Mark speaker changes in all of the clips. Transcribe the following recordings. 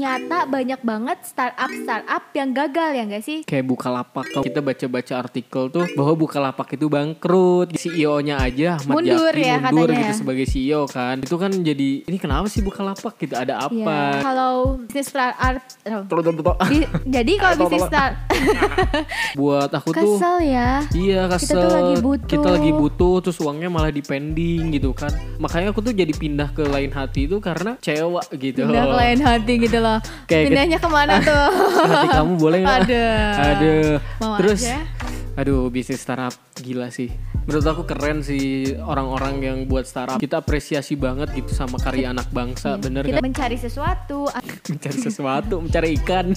Speaker 1: nyata banyak banget startup startup yang gagal ya nggak sih?
Speaker 2: kayak Bukalapak kalau kita baca-baca artikel tuh bahwa Bukalapak itu bangkrut CEO-nya aja Ahmad
Speaker 1: Mundur
Speaker 2: Zaki
Speaker 1: ya
Speaker 2: mundur
Speaker 1: katanya
Speaker 2: gitu
Speaker 1: ya.
Speaker 2: sebagai CEO kan itu kan jadi ini kenapa sih Bukalapak gitu ada
Speaker 1: Ya,
Speaker 2: apa Ah,
Speaker 1: Kalau bisnis startup, oh.
Speaker 2: Tolong-tolong.
Speaker 1: Bi- jadi kalau bisnis start
Speaker 2: buat aku tuh
Speaker 1: kesel ya.
Speaker 2: Iya
Speaker 1: Kita
Speaker 2: kesel
Speaker 1: tuh lagi butuh.
Speaker 2: Kita lagi butuh, Terus uangnya malah dipending gitu kan Makanya aku tuh jadi pindah ke lain hati itu Karena cewa gitu
Speaker 1: Pindah ke lain hati gitu loh.
Speaker 2: Kayak ke-
Speaker 1: Pindahnya kemana tuh? Iya.
Speaker 2: Hati kamu boleh nggak?
Speaker 1: Aduh.
Speaker 2: Aduh.
Speaker 1: Mau
Speaker 2: Terus
Speaker 1: aja.
Speaker 2: Aduh bisnis startup gila sih Menurut aku keren sih orang-orang yang buat startup Kita apresiasi banget gitu sama karya anak bangsa Bener
Speaker 1: Iya. Kita
Speaker 2: kan?
Speaker 1: mencari sesuatu.
Speaker 2: Mencari sesuatu, mencari ikan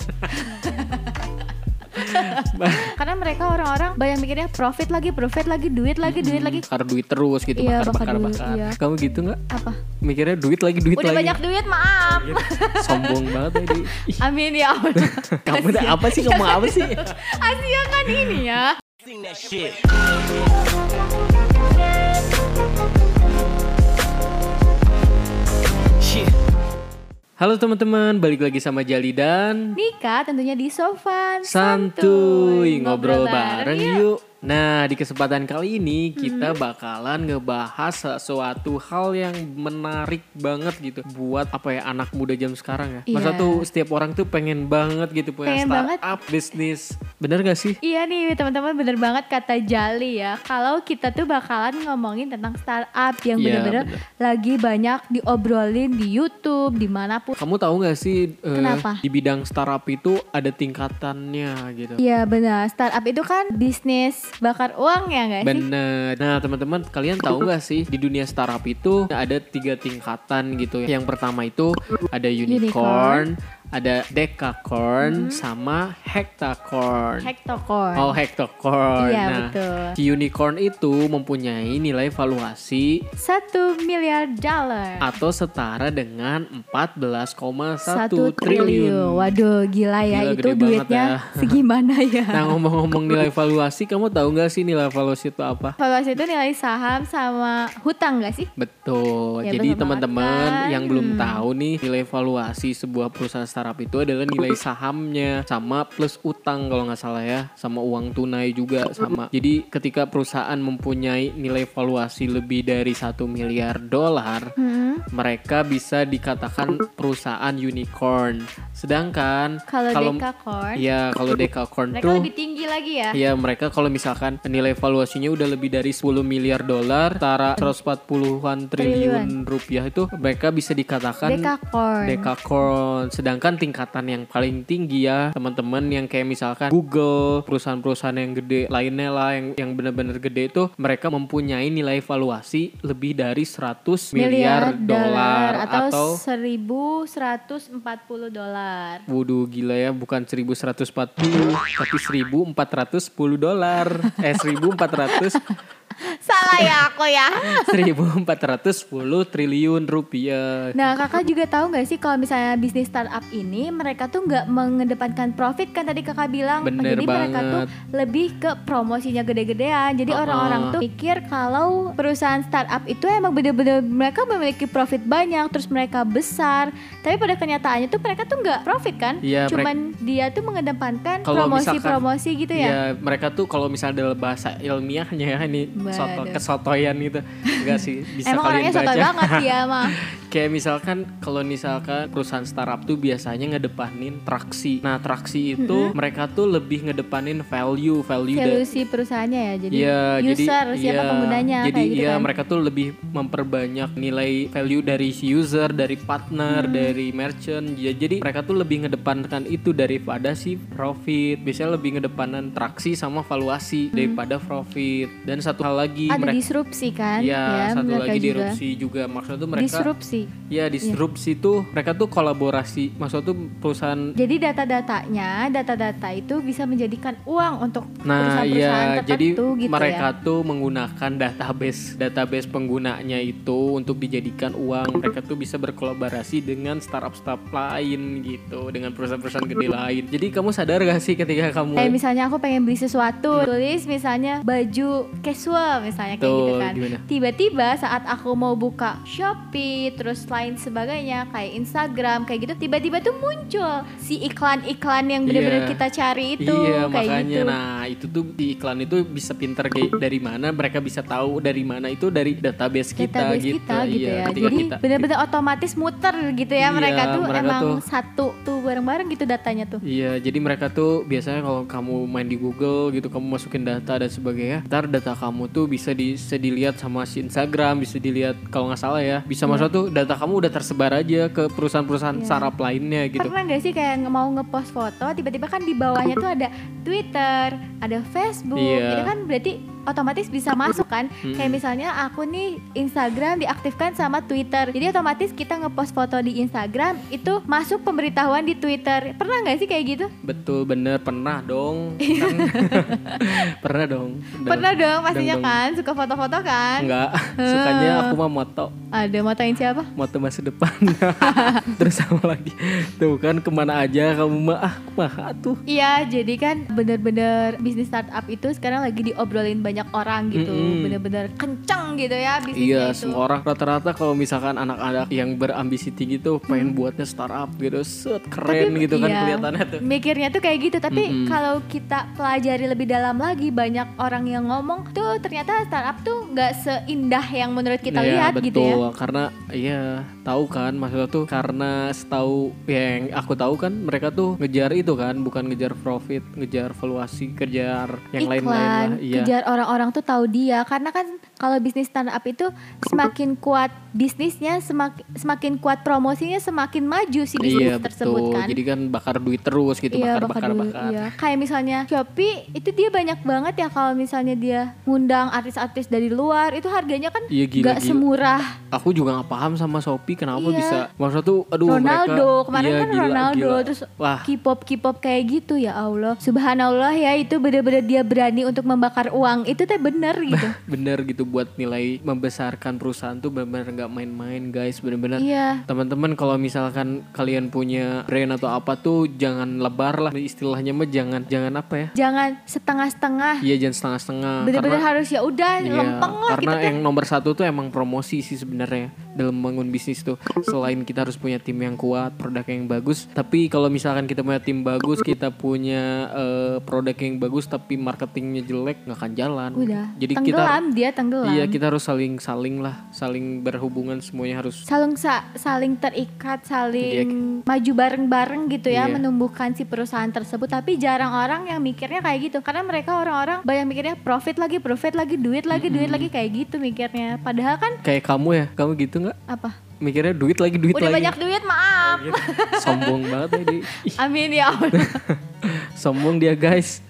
Speaker 1: Karena mereka orang-orang banyak mikirnya profit lagi, profit lagi, duit lagi, duit lagi.
Speaker 2: Bakar duit terus gitu,
Speaker 1: Iya, bakar
Speaker 2: bakar, bakar,
Speaker 1: duit,
Speaker 2: bakar
Speaker 1: iya.
Speaker 2: Kamu gitu nggak?
Speaker 1: Apa?
Speaker 2: Mikirnya duit lagi, duit
Speaker 1: Udah
Speaker 2: lagi Iya.
Speaker 1: banyak duit, maaf.
Speaker 2: Sombong banget tadi Ih,
Speaker 1: Amin ya Allah.
Speaker 2: Kamu tuh apa sih? Kamu apa sih?
Speaker 1: Asia kan ini ya.
Speaker 2: Halo teman-teman, balik lagi sama Jali dan
Speaker 1: Nika tentunya di Sofan
Speaker 2: Santuy ngobrol bareng
Speaker 1: yuk. Mm-hmm.
Speaker 2: yuk. Nah, di kesempatan kali ini kita bakalan ngebahas sesuatu hal yang menarik banget gitu buat apa ya anak muda jam sekarang ya.
Speaker 1: Iya.
Speaker 2: Masa tuh setiap orang tuh pengen banget gitu punya
Speaker 1: Pengen banget.
Speaker 2: startup bisnis. Bener gak sih?
Speaker 1: Iya nih teman-teman bener banget kata Jali ya Kalau kita tuh bakalan ngomongin tentang startup Yang
Speaker 2: Iya,
Speaker 1: bener-bener
Speaker 2: bener.
Speaker 1: lagi banyak diobrolin di Youtube Dimanapun
Speaker 2: Kamu tahu gak sih eh,
Speaker 1: Kenapa?
Speaker 2: di bidang startup itu ada tingkatannya gitu.
Speaker 1: Iya benar startup itu kan bisnis bakar uang ya gak sih?
Speaker 2: Bener. Nah teman-teman kalian tahu nggak sih di dunia startup itu ada tiga tingkatan gitu. ya. Yang pertama itu ada unicorn, ada
Speaker 1: Hmm.
Speaker 2: decacorn, sama hectacorn.
Speaker 1: Hektokorn
Speaker 2: Oh hectacorn.
Speaker 1: Iya,
Speaker 2: nah
Speaker 1: betul.
Speaker 2: si unicorn itu mempunyai nilai valuasi
Speaker 1: Satu miliar dollar
Speaker 2: atau setara dengan 14,1
Speaker 1: Satu triliun Waduh gila ya
Speaker 2: Gila,
Speaker 1: itu
Speaker 2: gede banget
Speaker 1: duitnya
Speaker 2: ya.
Speaker 1: segimana ya
Speaker 2: Nah ngomong-ngomong nilai valuasi, kamu tahu nggak sih nilai valuasi itu apa?
Speaker 1: Valuasi itu nilai saham sama hutang gak sih?
Speaker 2: Betul.
Speaker 1: Ya,
Speaker 2: Jadi
Speaker 1: betul banget
Speaker 2: teman-teman
Speaker 1: kan.
Speaker 2: yang belum tahu nih nilai valuasi sebuah perusahaan startup itu adalah nilai sahamnya sama plus utang kalau nggak salah ya, sama uang tunai juga sama. Jadi ketika perusahaan mempunyai nilai valuasi lebih dari satu miliar dolar,
Speaker 1: Hmm.
Speaker 2: mereka bisa dikatakan perusahaan unicorn. Sedangkan
Speaker 1: Kalau Decacorn
Speaker 2: Iya, kalau decacorn
Speaker 1: Mereka
Speaker 2: tuh
Speaker 1: lebih tinggi lagi ya
Speaker 2: Iya mereka kalau misalkan nilai valuasinya udah lebih dari 10 miliar dolar Setara 140-an triliun rupiah itu Mereka bisa dikatakan
Speaker 1: Decacorn.
Speaker 2: Decacorn Sedangkan tingkatan yang paling tinggi ya Teman-teman yang kayak misalkan Google Perusahaan-perusahaan yang gede lainnya lah Yang, yang benar-benar gede itu Mereka mempunyai nilai valuasi lebih dari 100 miliar dolar
Speaker 1: atau, 1140 dolar.
Speaker 2: Waduh gila ya bukan 1140 tapi 1410 dolar. Eh 1400
Speaker 1: Salah ya aku ya.
Speaker 2: 1410 triliun rupiah.
Speaker 1: Nah kakak juga tahu nggak sih kalau misalnya bisnis startup ini mereka tuh nggak mengedepankan profit kan tadi kakak bilang.
Speaker 2: Bener
Speaker 1: Jadi mereka
Speaker 2: banget. Uh-uh.
Speaker 1: tuh lebih ke promosinya gede-gedean. Jadi orang-orang tuh pikir kalau perusahaan startup itu emang bener-bener mereka memiliki profit banyak terus mereka besar. Tapi pada kenyataannya tuh mereka tuh nggak profit kan.
Speaker 2: Iya, mereka-
Speaker 1: Cuman dia tuh mengedepankan
Speaker 2: Kalau misalkan-
Speaker 1: promosi-promosi gitu ya.
Speaker 2: Ya, mereka tuh kalau misalnya dalam bahasa ilmiahnya ya ini soto,
Speaker 1: Waduh.
Speaker 2: kesotoyan gitu. Enggak sih, bisa
Speaker 1: Emang
Speaker 2: kalian
Speaker 1: orangnya
Speaker 2: baca.
Speaker 1: sotoy banget ya mah.
Speaker 2: Kayak misalkan kalau misalkan perusahaan startup tuh biasanya ngedepanin traksi. Nah, traksi itu mereka tuh lebih ngedepanin value, value, da-
Speaker 1: Value si perusahaannya ya. Jadi
Speaker 2: Iya, jadi
Speaker 1: user siapa
Speaker 2: iya,
Speaker 1: penggunanya
Speaker 2: Jadi
Speaker 1: kayak gitu
Speaker 2: iya,
Speaker 1: kan.
Speaker 2: mereka tuh lebih memperbanyak nilai value dari si user, dari partner,
Speaker 1: Hmm.
Speaker 2: dari merchant. Ya, jadi mereka tuh lebih ngedepankan itu daripada si profit. Biasanya lebih ngedepanan traksi sama valuasi daripada profit. Dan satu hal lagi
Speaker 1: Hmm. Ada
Speaker 2: mereka
Speaker 1: disrupsi kan.
Speaker 2: Iya, satu
Speaker 1: mereka
Speaker 2: lagi
Speaker 1: juga.
Speaker 2: disrupsi juga. Maksudnya tuh mereka
Speaker 1: Disrupsi.
Speaker 2: Ya disrupsi tuh mereka tuh kolaborasi. Maksudnya tuh perusahaan
Speaker 1: Jadi data-datanya, data-data itu bisa menjadikan uang untuk
Speaker 2: Nah,
Speaker 1: perusahaan-perusahaan
Speaker 2: iya,
Speaker 1: tertentu
Speaker 2: jadi
Speaker 1: gitu ya.
Speaker 2: mereka tuh menggunakan database database penggunanya itu untuk dijadikan uang. Mereka tuh bisa berkolaborasi dengan startup-startup lain gitu, dengan perusahaan-perusahaan gede lain. Jadi kamu sadar gak sih ketika
Speaker 1: Kayak
Speaker 2: kamu
Speaker 1: misalnya aku pengen beli
Speaker 2: Iya.
Speaker 1: sesuatu, tulis misalnya baju casual misalnya kayak
Speaker 2: Tuh,
Speaker 1: gitu kan.
Speaker 2: gimana?
Speaker 1: Tiba-tiba saat aku mau buka Shopee, terus terus lain sebagainya kayak Instagram kayak gitu tiba-tiba tuh muncul si iklan-iklan yang benar-benar
Speaker 2: Iya.
Speaker 1: kita cari itu
Speaker 2: iya
Speaker 1: kayak
Speaker 2: makanya
Speaker 1: gitu.
Speaker 2: nah itu tuh di iklan itu bisa pinter kayak dari mana mereka bisa tahu dari mana itu dari database kita
Speaker 1: database
Speaker 2: gitu
Speaker 1: kita gitu
Speaker 2: iya
Speaker 1: ya.
Speaker 2: ketika
Speaker 1: Jadi
Speaker 2: kita
Speaker 1: benar-benar otomatis muter gitu ya
Speaker 2: Iya,
Speaker 1: mereka tuh
Speaker 2: mereka
Speaker 1: emang
Speaker 2: tuh-
Speaker 1: satu tuh bareng-bareng gitu datanya tuh.
Speaker 2: Iya, jadi mereka tuh biasanya kalau kamu main di Google gitu, kamu masukin data dan sebagainya, ntar data kamu tuh bisa di bisa dilihat sama si Instagram, bisa dilihat kalau nggak salah ya, bisa
Speaker 1: Iya.
Speaker 2: maksudnya tuh data kamu udah tersebar aja ke perusahaan-perusahaan sarap lainnya gitu.
Speaker 1: Pernah gak sih kayak nge- mau ngepost foto tiba-tiba kan di bawahnya tuh ada Twitter, ada Facebook.
Speaker 2: Iya.
Speaker 1: Itu kan berarti otomatis bisa masuk kan. Kayak misalnya aku nih Instagram diaktifkan sama Twitter. Jadi otomatis kita ngepost foto di Instagram itu masuk pemberitahuan di Twitter. Pernah gak sih kayak gitu?
Speaker 2: Betul bener pernah dong. Kan- pernah dong. Dong.
Speaker 1: Iya. Pernah dong pastinya
Speaker 2: dong.
Speaker 1: kan suka foto-foto kan.
Speaker 2: Enggak, sukanya aku mah moto,
Speaker 1: Ada motoin siapa?
Speaker 2: moto masa depan. Terus sama lagi, tuh kan kemana aja kamu mah, ah kumaha tuh.
Speaker 1: Iya, jadi kan bener-bener bisnis startup itu sekarang lagi diobrolin banyak orang gitu,
Speaker 2: Mm-mm.
Speaker 1: bener-bener kenceng gitu ya bisnisnya
Speaker 2: Iya,
Speaker 1: itu.
Speaker 2: semua orang rata-rata kalau misalkan anak-anak yang berambisi tinggi tuh pengen buatnya startup gitu, set keren gitu kan
Speaker 1: Hmm. iya,
Speaker 2: kelihatannya tuh.
Speaker 1: Mikirnya tuh kayak gitu, tapi kalau kita pelajari lebih dalam lagi banyak orang yang ngomong tuh ternyata startup tuh nggak seindah yang menurut kita
Speaker 2: Iya,
Speaker 1: lihat
Speaker 2: betul,
Speaker 1: gitu ya.
Speaker 2: karena iya tahu kan maksudnya tuh karena setahu yang aku tahu kan mereka tuh ngejar itu kan, bukan ngejar profit, ngejar valuasi, kejar yang lain-lain
Speaker 1: Iklan,
Speaker 2: lah. Iya.
Speaker 1: kejar orang-orang tuh tahu dia karena kan kalau bisnis startup itu semakin kuat bisnisnya, semak- semakin kuat promosinya, semakin maju si bisnis
Speaker 2: Iya
Speaker 1: tersebut
Speaker 2: betul.
Speaker 1: kan.
Speaker 2: Jadi kan bakar duit terus gitu,
Speaker 1: Iya
Speaker 2: bakar bakar
Speaker 1: dulu,
Speaker 2: bakar.
Speaker 1: iya. Kayak misalnya Shopee itu dia banyak banget ya kalau misalnya dia ngundang artis-artis dari luar itu harganya kan
Speaker 2: Iya, gila,
Speaker 1: nggak
Speaker 2: gila.
Speaker 1: semurah.
Speaker 2: Aku juga nggak paham sama Shopee kenapa
Speaker 1: Iya.
Speaker 2: bisa maksudnya tuh aduh
Speaker 1: Ronaldo
Speaker 2: mereka
Speaker 1: kemarin
Speaker 2: iya,
Speaker 1: kan
Speaker 2: gila,
Speaker 1: Ronaldo
Speaker 2: gila.
Speaker 1: terus
Speaker 2: wah
Speaker 1: K-pop K-pop kayak gitu ya Allah. Subhanallah ya itu bener-bener dia berani untuk membakar uang itu teh bener
Speaker 2: Nah,
Speaker 1: gitu.
Speaker 2: bener gitu buat nilai membesarkan perusahaan tuh bener-bener nggak main-main guys bener-bener
Speaker 1: iya.
Speaker 2: teman-teman kalau misalkan kalian punya brand atau apa tuh jangan lebar lah istilahnya mah jangan jangan apa ya
Speaker 1: Jangan setengah-setengah.
Speaker 2: iya jangan setengah-setengah
Speaker 1: Bener-bener harus ya udah
Speaker 2: Iya,
Speaker 1: lempeng lah
Speaker 2: karena
Speaker 1: gitu teh.
Speaker 2: yang nomor satu tuh emang promosi sih sebenarnya dalam membangun bisnis tuh. Selain kita harus punya tim yang kuat, produk yang bagus, tapi kalau misalkan kita punya tim bagus, kita punya eh, produk yang bagus, tapi marketingnya jelek, nggak akan jalan.
Speaker 1: Udah.
Speaker 2: Jadi
Speaker 1: tenggelam dia
Speaker 2: kita,
Speaker 1: tenggelam.
Speaker 2: iya kita harus saling saling lah, saling berhubungan semuanya harus.
Speaker 1: saling sa- saling terikat, saling maju bareng-bareng gitu ya,
Speaker 2: Iya.
Speaker 1: menumbuhkan si perusahaan tersebut. Tapi jarang orang yang mikirnya kayak gitu, karena mereka orang-orang banyak mikirnya profit lagi, profit lagi, duit lagi, duit lagi kayak gitu mikirnya. Padahal kan
Speaker 2: Kayak kamu ya, kamu gitu nggak?
Speaker 1: apa?
Speaker 2: Mikirnya duit lagi duit
Speaker 1: Udah
Speaker 2: lagi.
Speaker 1: banyak duit, maaf.
Speaker 2: Gitu. Sombong banget ya, dia. Ih,
Speaker 1: Amin ya Allah.
Speaker 2: sombong dia guys.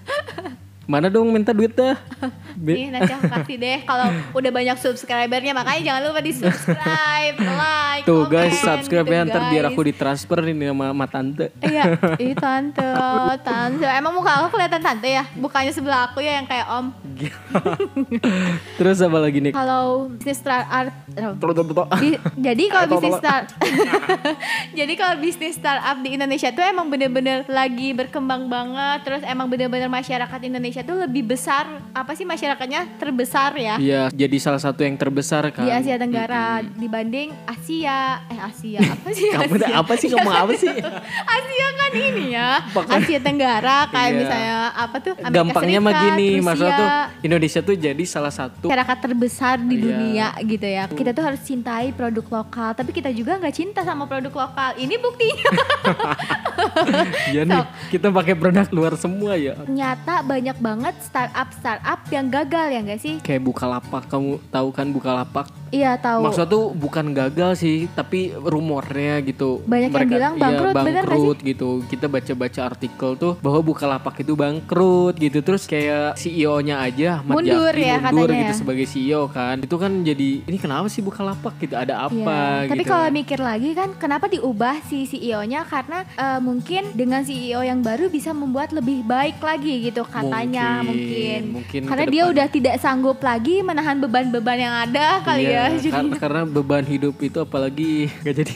Speaker 2: Mana dong minta duit dah? Be-
Speaker 1: Nih nanti aku kasih deh kalau udah banyak subscribernya makanya jangan lupa di subscribe, like,
Speaker 2: Tuh guys,
Speaker 1: komen,
Speaker 2: subscribe
Speaker 1: gitu,
Speaker 2: ya ntar biar
Speaker 1: guys.
Speaker 2: aku ditransfer ini sama, sama tante.
Speaker 1: Iya, ih tante, tante. Emang muka aku kelihatan tante ya? Bukannya sebelah aku ya yang kayak om.
Speaker 2: Terus apa lagi nih?
Speaker 1: Kalau bisnis startup,
Speaker 2: Betul-betul.
Speaker 1: bi- jadi kalau
Speaker 2: Tolong,
Speaker 1: bisnis
Speaker 2: tolong.
Speaker 1: start, jadi kalau bisnis startup di Indonesia tuh emang bener-bener lagi berkembang banget. Terus emang bener-bener masyarakat Indonesia tuh lebih besar. Apa sih masyarakatnya terbesar ya?
Speaker 2: Iya, jadi salah satu yang terbesar kan.
Speaker 1: Di Asia Tenggara dibanding Asia, eh Asia apa sih?
Speaker 2: Kamu
Speaker 1: Asia?
Speaker 2: apa sih kamu apa sih?
Speaker 1: Asia kan ini ya
Speaker 2: Makanya-
Speaker 1: Asia Tenggara kayak
Speaker 2: Iya.
Speaker 1: misalnya apa tuh Amerika
Speaker 2: Gampangnya mah
Speaker 1: Serikat,
Speaker 2: gini,
Speaker 1: Rusia,
Speaker 2: maksudnya tuh Indonesia tuh jadi salah satu
Speaker 1: masyarakat terbesar di
Speaker 2: Iya.
Speaker 1: dunia gitu ya kita tuh harus cintai produk lokal tapi kita juga nggak cinta sama produk lokal ini buktinya
Speaker 2: ya nih. Kita pakai produk luar semua ya.
Speaker 1: nyata banyak banget startup startup yang gagal ya nggak sih
Speaker 2: Kayak Bukalapak, kamu tahu kan Bukalapak?
Speaker 1: iya tahu
Speaker 2: Maksudnya tuh bukan gagal sih, tapi rumornya gitu.
Speaker 1: Banyak yang bilang
Speaker 2: iya,
Speaker 1: bangkrut, bener gak
Speaker 2: bangkrut gitu. Kita baca-baca artikel tuh bahwa Bukalapak itu bangkrut gitu. Terus kayak CEO-nya aja Ahmad
Speaker 1: Mundur
Speaker 2: Zaki
Speaker 1: ya
Speaker 2: mundur
Speaker 1: katanya
Speaker 2: gitu
Speaker 1: ya.
Speaker 2: sebagai CEO kan. Itu kan jadi ini kenapa sih Bukalapak gitu? Ada
Speaker 1: Iya.
Speaker 2: apa gitu.
Speaker 1: Tapi kalau mikir lagi kan kenapa diubah si CEO-nya karena eh, mungkin dengan CEO yang baru bisa membuat lebih baik lagi gitu katanya
Speaker 2: Mungkin,
Speaker 1: mungkin.
Speaker 2: mungkin
Speaker 1: karena
Speaker 2: ke
Speaker 1: dia
Speaker 2: depan.
Speaker 1: udah tidak sanggup lagi menahan beban-beban yang ada kali
Speaker 2: Iya,
Speaker 1: ya. Jadi
Speaker 2: kar- karena beban hidup itu apalagi gak jadi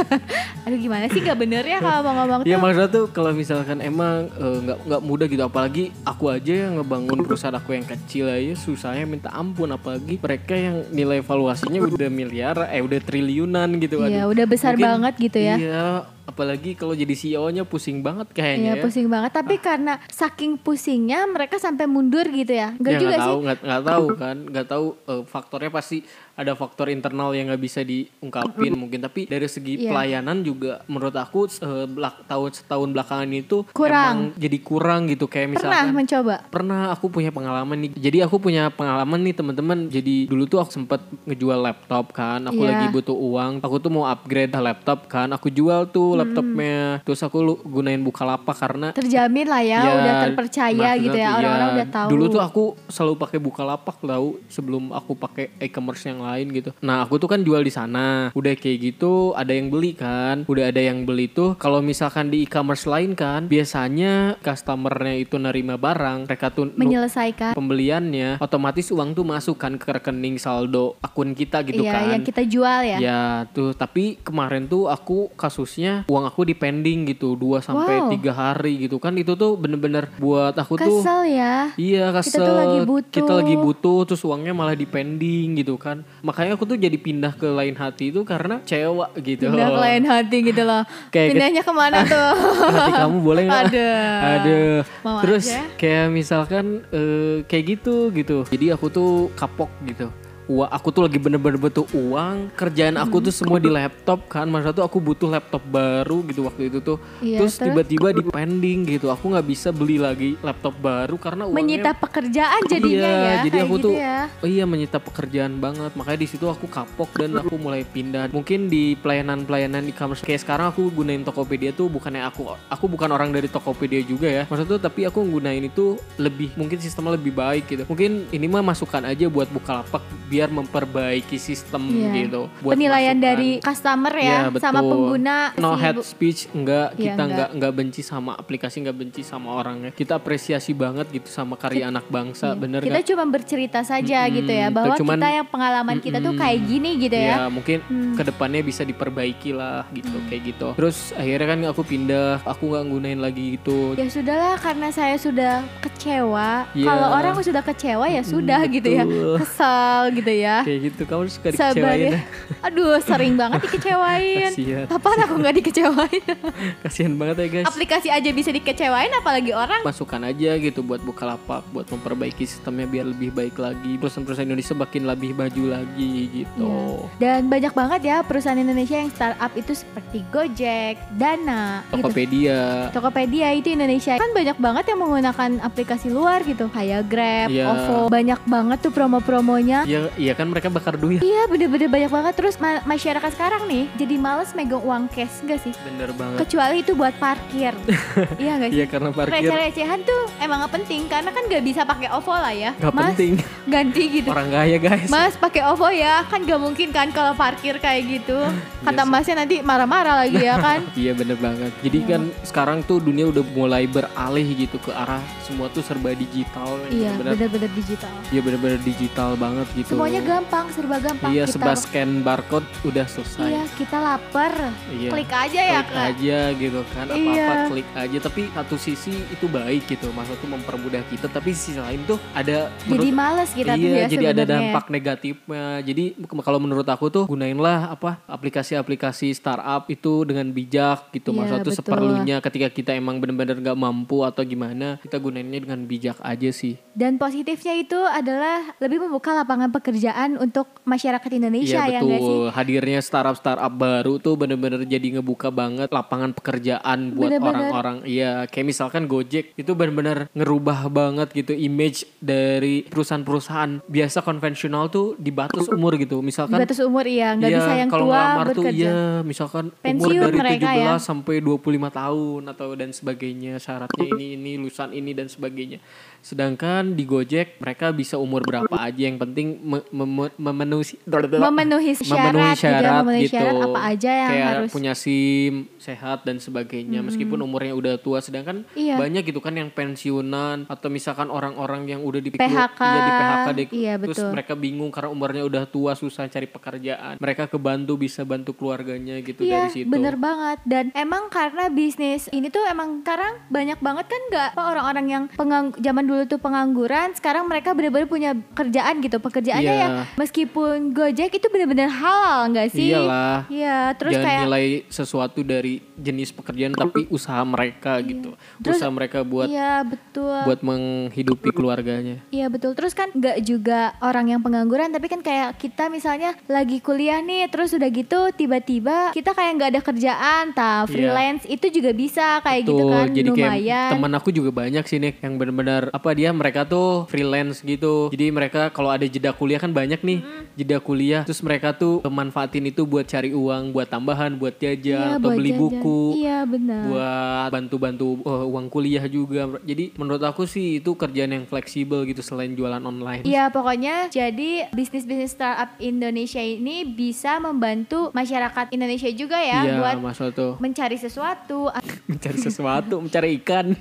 Speaker 1: Aduh gimana sih gak bener ya kalau mau ngomong
Speaker 2: Iya
Speaker 1: tuh.
Speaker 2: maksudnya tuh kalau misalkan emang eh, nggak nggak mudah gitu apalagi aku aja yang ngebangun perusahaan aku yang kecil aja susahnya minta ampun apalagi mereka yang nilai valuasinya udah miliar eh udah triliunan gitu
Speaker 1: Iya, udah besar banget gitu ya.
Speaker 2: Iya apalagi kalau jadi CEO-nya pusing banget kayaknya. ya. Ah.
Speaker 1: Iya pusing banget tapi karena saking pusingnya mereka sampai mundur gitu ya. Enggak
Speaker 2: Ya,
Speaker 1: juga
Speaker 2: nggak
Speaker 1: sih.
Speaker 2: tahu nggak nggak tahu kan nggak tahu eh, faktornya pasti ada faktor internal yang nggak bisa diungkapin mungkin tapi dari segi
Speaker 1: Iya.
Speaker 2: pelayanan juga menurut aku eh, belak- tahun setahun belakangan itu
Speaker 1: Kurang.
Speaker 2: emang jadi kurang gitu kayak
Speaker 1: Pernah
Speaker 2: misalkan
Speaker 1: mencoba.
Speaker 2: pernah aku punya pengalaman nih jadi aku punya pengalaman nih teman-teman jadi dulu tuh aku sempat ngejual laptop kan aku
Speaker 1: Iya.
Speaker 2: lagi butuh uang aku tuh mau upgrade laptop kan aku jual tuh laptopnya terus aku lu- gunain Bukalapak karena
Speaker 1: Terjamin lah ya,
Speaker 2: Ya,
Speaker 1: udah terpercaya
Speaker 2: maksudnya
Speaker 1: gitu ya
Speaker 2: tuh,
Speaker 1: orang-orang
Speaker 2: iya.
Speaker 1: udah tahu.
Speaker 2: Dulu tuh aku selalu pakai Bukalapak tahu sebelum aku pakai e-commerce yang lain gitu. Nah, aku tuh kan jual di sana. Udah kayak gitu ada yang beli kan. Udah ada yang beli tuh kalau misalkan di e-commerce lain kan biasanya customernya itu nerima barang, mereka tuh nu-
Speaker 1: menyelesaikan
Speaker 2: pembeliannya otomatis uang tuh masuk kan ke rekening saldo akun kita gitu
Speaker 1: Iya,
Speaker 2: kan.
Speaker 1: yang kita jual ya.
Speaker 2: Ya tuh tapi kemarin tuh aku kasusnya uang aku di pending gitu 2 sampai
Speaker 1: Wow.
Speaker 2: tiga hari gitu kan itu tuh bener-bener buat aku tuh
Speaker 1: Kesel ya.
Speaker 2: Iya
Speaker 1: Kita
Speaker 2: kesel
Speaker 1: tuh lagi butuh.
Speaker 2: Kita lagi butuh terus uangnya malah di pending gitu kan Makanya aku tuh jadi pindah ke lain hati itu karena cewa gitu
Speaker 1: Pindah ke lain hati gitu loh.
Speaker 2: Kayak ke-
Speaker 1: Pindahnya kemana tuh?
Speaker 2: Hati kamu boleh nggak?
Speaker 1: Aduh.
Speaker 2: Aduh.
Speaker 1: Mau
Speaker 2: Terus
Speaker 1: aja.
Speaker 2: kayak misalkan eh, kayak gitu gitu. Jadi aku tuh kapok gitu. Wah, aku tuh lagi bener-bener butuh uang. Kerjaan aku tuh semua di laptop kan. Masa tuh aku butuh laptop baru gitu waktu itu tuh.
Speaker 1: Iya,
Speaker 2: terus
Speaker 1: terus?
Speaker 2: tiba-tiba di pending gitu. Aku nggak bisa beli lagi laptop baru karena uangnya
Speaker 1: Menyita pekerjaan jadinya
Speaker 2: iya,
Speaker 1: ya.
Speaker 2: jadi
Speaker 1: kayak
Speaker 2: aku
Speaker 1: gitu
Speaker 2: tuh
Speaker 1: ya.
Speaker 2: oh iya menyita pekerjaan banget. Makanya di situ aku kapok dan
Speaker 1: Iya.
Speaker 2: aku mulai pindah. Mungkin di pelayanan-pelayanan e-commerce kayak sekarang aku gunain Tokopedia tuh bukannya aku aku bukan orang dari Tokopedia juga ya. Maksudnya tuh tapi aku gunain itu lebih mungkin sistemnya lebih baik gitu. Mungkin ini mah masukan aja buat Bukalapak biar memperbaiki sistem
Speaker 1: Iya.
Speaker 2: gitu. Buat
Speaker 1: Penilaian
Speaker 2: masukan.
Speaker 1: dari customer ya,
Speaker 2: Iya,
Speaker 1: sama
Speaker 2: betul.
Speaker 1: pengguna
Speaker 2: no
Speaker 1: si
Speaker 2: head
Speaker 1: bu-
Speaker 2: speech enggak
Speaker 1: Iya,
Speaker 2: kita enggak enggak benci sama aplikasi enggak benci sama orangnya kita apresiasi banget gitu sama karya anak bangsa eh, bener
Speaker 1: kita
Speaker 2: nggak?
Speaker 1: cuma bercerita saja
Speaker 2: Mm-mm,
Speaker 1: gitu ya
Speaker 2: kita
Speaker 1: bahwa
Speaker 2: cuman-
Speaker 1: kita yang pengalaman kita tuh kayak gini gitu ya.
Speaker 2: Ya, mungkin kedepannya bisa diperbaiki lah gitu kayak gitu. Terus akhirnya kan aku pindah, aku nggak gunain lagi gitu.
Speaker 1: Ya sudahlah karena saya sudah kecewa.
Speaker 2: Iya. Hmm,
Speaker 1: Kalau orang sudah kecewa ya sudah gitu ya.
Speaker 2: betul.
Speaker 1: Kesal gitu ya.
Speaker 2: Kayak gitu, kamu suka
Speaker 1: Sebagai-
Speaker 2: dikecewain. ya?
Speaker 1: Aduh, sering banget dikecewain.
Speaker 2: Kasihan.
Speaker 1: Kapan aku nggak dikecewain?
Speaker 2: Kasihan banget ya guys.
Speaker 1: Aplikasi aja bisa dikecewain apalagi orang.
Speaker 2: Masukan aja gitu buat Bukalapak, buat memperbaiki sistemnya biar lebih baik lagi. Perusahaan-perusahaan Indonesia makin lebih maju lagi gitu.
Speaker 1: Iya. Dan banyak banget ya perusahaan Indonesia yang startup itu seperti Gojek, Dana, gitu.
Speaker 2: Tokopedia.
Speaker 1: Tokopedia itu Indonesia kan banyak banget yang menggunakan aplikasi luar gitu kayak Grab,
Speaker 2: Iya.
Speaker 1: OVO banyak banget tuh promo-promonya
Speaker 2: Ya, iya kan mereka bakar duit.
Speaker 1: iya bener-bener banyak banget terus ma- masyarakat sekarang nih jadi males megang uang cash enggak sih
Speaker 2: Bener banget.
Speaker 1: kecuali itu buat parkir iya enggak sih
Speaker 2: Iya karena parkir
Speaker 1: receh-recehan tuh emang gak penting karena kan gak bisa pakai OVO lah ya
Speaker 2: nggak
Speaker 1: mas
Speaker 2: penting.
Speaker 1: ganti gitu
Speaker 2: Orang kaya guys.
Speaker 1: Mas pakai OVO ya kan gak mungkin kan kalau parkir kayak gitu kata
Speaker 2: Iya sih.
Speaker 1: masnya nanti marah-marah lagi ya kan
Speaker 2: Iya bener banget. Jadi kan sekarang tuh dunia udah mulai beralih gitu ke arah semua tuh serba digital. yang
Speaker 1: iya
Speaker 2: bener-bener-
Speaker 1: bener-bener digital
Speaker 2: Iya bener-bener digital banget gitu.
Speaker 1: semuanya gampang serba gampang
Speaker 2: Iya
Speaker 1: Kita-
Speaker 2: serba scan barcode udah selesai.
Speaker 1: Iya, kita lapar.
Speaker 2: Iya.
Speaker 1: Klik aja ya,
Speaker 2: Klik
Speaker 1: Kak.
Speaker 2: aja gitu kan apa apa
Speaker 1: Iya.
Speaker 2: klik aja tapi satu sisi itu baik gitu maksud tuh mempermudah kita tapi sisi lain tuh ada
Speaker 1: Jadi
Speaker 2: menurut-
Speaker 1: males kita tuh
Speaker 2: iya,
Speaker 1: ya
Speaker 2: jadi ada
Speaker 1: sebenarnya.
Speaker 2: dampak negatifnya. Jadi ke- kalau menurut aku tuh gunainlah apa aplikasi-aplikasi startup itu dengan bijak gitu.
Speaker 1: Iya,
Speaker 2: Maksudnya tuh
Speaker 1: betul.
Speaker 2: seperlunya ketika kita emang benar-benar nggak mampu atau gimana, kita gunainnya dengan bijak aja sih.
Speaker 1: Dan positifnya itu adalah lebih membuka lapangan pekerjaan untuk masyarakat Indonesia ya
Speaker 2: Iya
Speaker 1: enggak sih?
Speaker 2: betul. Hadirnya startup-startup baru tuh bener-bener jadi ngebuka banget lapangan pekerjaan buat
Speaker 1: Bener-bener.
Speaker 2: orang-orang. Iya, kayak misalkan Gojek itu bener-bener ngerubah banget gitu image dari perusahaan-perusahaan biasa konvensional tuh dibatas umur gitu. Misalkan
Speaker 1: Batas umur iya, nggak
Speaker 2: Iya,
Speaker 1: bisa yang
Speaker 2: kalau
Speaker 1: tua
Speaker 2: ngelamar tuh
Speaker 1: bekerja.
Speaker 2: iya, misalkan
Speaker 1: Pensiun
Speaker 2: umur dari
Speaker 1: mereka
Speaker 2: 17
Speaker 1: ya.
Speaker 2: sampai 25 tahun atau dan sebagainya, syaratnya ini ini, lulusan ini dan sebagainya. Sedangkan di Gojek mereka bisa umur berapa aja yang penting me- memu- memu- memenuhi
Speaker 1: memenuhi syarat,
Speaker 2: memenuhi
Speaker 1: juga
Speaker 2: syarat
Speaker 1: memenuhi
Speaker 2: gitu.
Speaker 1: syarat apa aja yang
Speaker 2: Kayak
Speaker 1: harus Hmm.
Speaker 2: punya SIM, sehat dan sebagainya. Meskipun umurnya udah tua sedangkan
Speaker 1: Iya.
Speaker 2: banyak gitu kan yang pensiunan atau misalkan orang-orang yang udah di
Speaker 1: PHK.
Speaker 2: iya, di PHK di-
Speaker 1: Iya,
Speaker 2: terus
Speaker 1: betul.
Speaker 2: mereka bingung karena umurnya udah tua, susah cari pekerjaan. Mereka kebantu bisa bantu keluarganya gitu
Speaker 1: Iya,
Speaker 2: dari situ.
Speaker 1: bener banget. Dan emang karena bisnis ini tuh emang sekarang banyak banget kan nggak apa, orang-orang yang pengang zaman dulu tuh pengangguran, sekarang mereka bener-bener punya kerjaan gitu. Pekerjaannya
Speaker 2: Iya.
Speaker 1: yang meskipun Gojek itu bener-bener halal nggak sih?
Speaker 2: Iyalah.
Speaker 1: Iya, terus
Speaker 2: Jangan
Speaker 1: kayak
Speaker 2: nilai sesuatu dari jenis pekerjaan tapi usaha mereka gitu. usaha mereka buat
Speaker 1: Iya, betul.
Speaker 2: buat menghidupi keluarganya.
Speaker 1: Iya betul terus kan nggak juga orang yang pengangguran tapi kan kayak kita misalnya lagi kuliah nih terus udah gitu tiba-tiba kita kayak nggak ada kerjaan ta freelance itu juga bisa kayak gitu
Speaker 2: Iya. Betul,
Speaker 1: kan
Speaker 2: jadi kayak
Speaker 1: lumayan
Speaker 2: teman aku juga banyak sih nih yang benar-benar apa dia mereka tuh freelance gitu. Jadi mereka kalau ada jeda kuliah kan banyak nih
Speaker 1: Hmm.
Speaker 2: jeda kuliah, terus mereka tuh manfaatin itu buat cari uang, buat tambahan, buat
Speaker 1: Iya,
Speaker 2: jajan atau
Speaker 1: buat
Speaker 2: beli
Speaker 1: jajan.
Speaker 2: buku,
Speaker 1: iya benar
Speaker 2: buat bantu-bantu eh, uang kuliah juga. Jadi menurut aku sih itu kerjaan yang fleksibel gitu selain jualan online.
Speaker 1: Iya pokoknya jadi bisnis-bisnis startup Indonesia ini bisa membantu masyarakat Indonesia juga ya
Speaker 2: Iya,
Speaker 1: buat
Speaker 2: Mas Soto.
Speaker 1: mencari sesuatu.
Speaker 2: mencari sesuatu, mencari ikan.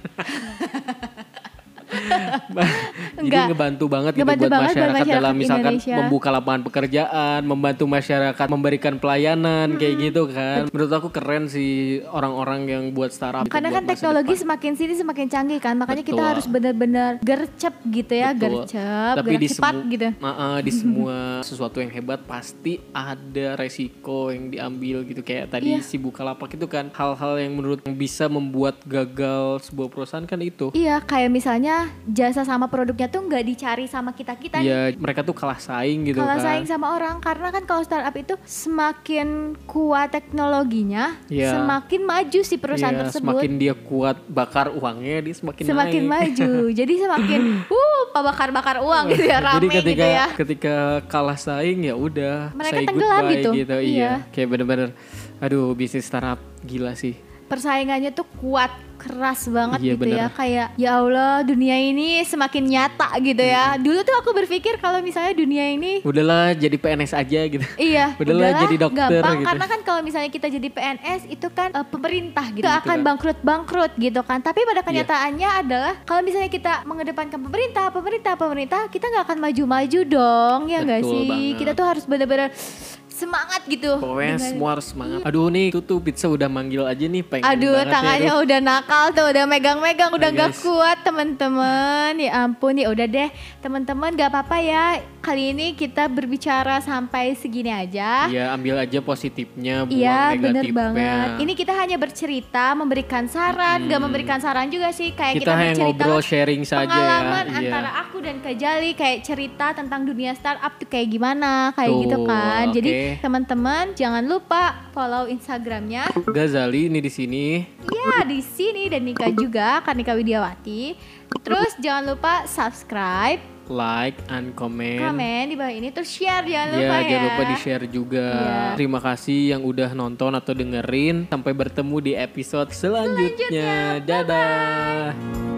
Speaker 2: Jadi
Speaker 1: Enggak.
Speaker 2: ngebantu banget gitu
Speaker 1: Ngebantu
Speaker 2: buat
Speaker 1: banget buat
Speaker 2: masyarakat,
Speaker 1: masyarakat
Speaker 2: dalam misalkan
Speaker 1: Indonesia.
Speaker 2: membuka lapangan pekerjaan, membantu masyarakat memberikan pelayanan
Speaker 1: Hmm.
Speaker 2: kayak gitu kan. Menurut aku keren sih orang-orang yang buat startup. gitu,
Speaker 1: Karena
Speaker 2: buat
Speaker 1: kan
Speaker 2: masa
Speaker 1: teknologi semakin sini semakin canggih kan, makanya kita
Speaker 2: Betul.
Speaker 1: harus benar-benar gercep gitu ya,
Speaker 2: Betul.
Speaker 1: gercep,
Speaker 2: Tapi
Speaker 1: gerak
Speaker 2: di
Speaker 1: cepat
Speaker 2: semu-
Speaker 1: gitu.
Speaker 2: Ma'a, di semua sesuatu yang hebat pasti ada resiko yang diambil gitu kayak tadi
Speaker 1: Iya.
Speaker 2: si Bukalapak itu kan hal-hal yang menurut yang bisa membuat gagal sebuah perusahaan kan itu.
Speaker 1: Iya, kayak misalnya jasa sama produknya tuh nggak dicari sama kita kita nih.
Speaker 2: Iya, mereka tuh kalah saing gitu
Speaker 1: Kalau
Speaker 2: kan.
Speaker 1: saing sama orang, karena kan kalau startup itu semakin kuat teknologinya,
Speaker 2: Iya.
Speaker 1: semakin maju si perusahaan
Speaker 2: Iya,
Speaker 1: tersebut.
Speaker 2: Semakin dia kuat bakar uangnya, dia semakin
Speaker 1: semakin
Speaker 2: naik.
Speaker 1: maju. Jadi semakin uh bakar-bakar uang gitu ya rame
Speaker 2: Iya, Jadi ketika
Speaker 1: gitu ya.
Speaker 2: ketika kalah saing ya udah
Speaker 1: Mereka
Speaker 2: say
Speaker 1: tenggelam
Speaker 2: goodbye
Speaker 1: gitu.
Speaker 2: Iya.
Speaker 1: Iya.
Speaker 2: Kayak bener-bener aduh bisnis startup gila sih.
Speaker 1: Persaingannya tuh kuat keras banget
Speaker 2: Iya,
Speaker 1: gitu ya
Speaker 2: bener.
Speaker 1: kayak ya Allah dunia ini semakin nyata gitu ya. Dulu tuh aku berpikir kalau misalnya dunia ini
Speaker 2: Udahlah jadi PNS aja gitu.
Speaker 1: Iya,
Speaker 2: Udahlah, jadi dokter
Speaker 1: gampang
Speaker 2: gitu.
Speaker 1: karena kan kalau misalnya kita jadi PNS itu kan eh, pemerintah gitu
Speaker 2: Gitu
Speaker 1: akan
Speaker 2: kan.
Speaker 1: bangkrut-bangkrut gitu kan. Tapi
Speaker 2: Iya.
Speaker 1: pada kenyataannya adalah kalau misalnya kita mengedepankan pemerintah, pemerintah, pemerintah, kita nggak akan maju-maju dong, ya nggak
Speaker 2: Betul
Speaker 1: sih?
Speaker 2: banget.
Speaker 1: Kita tuh harus benar-benar semangat gitu.
Speaker 2: Pokoknya
Speaker 1: Dengan-
Speaker 2: semua harus semangat. Aduh nih itu tuh pizza udah manggil aja nih pengen
Speaker 1: Aduh,
Speaker 2: banget ya,
Speaker 1: tangannya
Speaker 2: aduh.
Speaker 1: udah nakal tuh, udah megang-megang, udah
Speaker 2: Nah,
Speaker 1: nggak
Speaker 2: guys.
Speaker 1: kuat teman-teman. Ya ampun, ya udah deh, teman-teman nggak apa-apa ya. Kali ini kita berbicara sampai segini aja.
Speaker 2: Iya, ambil aja positifnya, buang
Speaker 1: Iya
Speaker 2: negatifnya.
Speaker 1: bener banget Ini kita hanya bercerita Memberikan saran Gak memberikan saran juga sih Kayak
Speaker 2: Hmm. kita,
Speaker 1: kita,
Speaker 2: hanya
Speaker 1: bercerita
Speaker 2: ngobrol sharing saja ya.
Speaker 1: Pengalaman
Speaker 2: Iya.
Speaker 1: antara aku dan Kejali Kayak cerita tentang dunia startup tuh Kayak gimana Kayak
Speaker 2: Tuh,
Speaker 1: gitu kan Jadi
Speaker 2: oke.
Speaker 1: teman-teman Jangan lupa follow Instagramnya
Speaker 2: Gazali ini di sini.
Speaker 1: Iya di sini Dan Nika juga Karnika Widiawati Terus jangan lupa subscribe
Speaker 2: like and comment.
Speaker 1: Komen di bawah ini Terus share jangan lupa
Speaker 2: Ya,
Speaker 1: ya
Speaker 2: jangan lupa di-share juga.
Speaker 1: Iya.
Speaker 2: Terima kasih yang udah nonton atau dengerin. Sampai bertemu di episode selanjutnya. Dadah.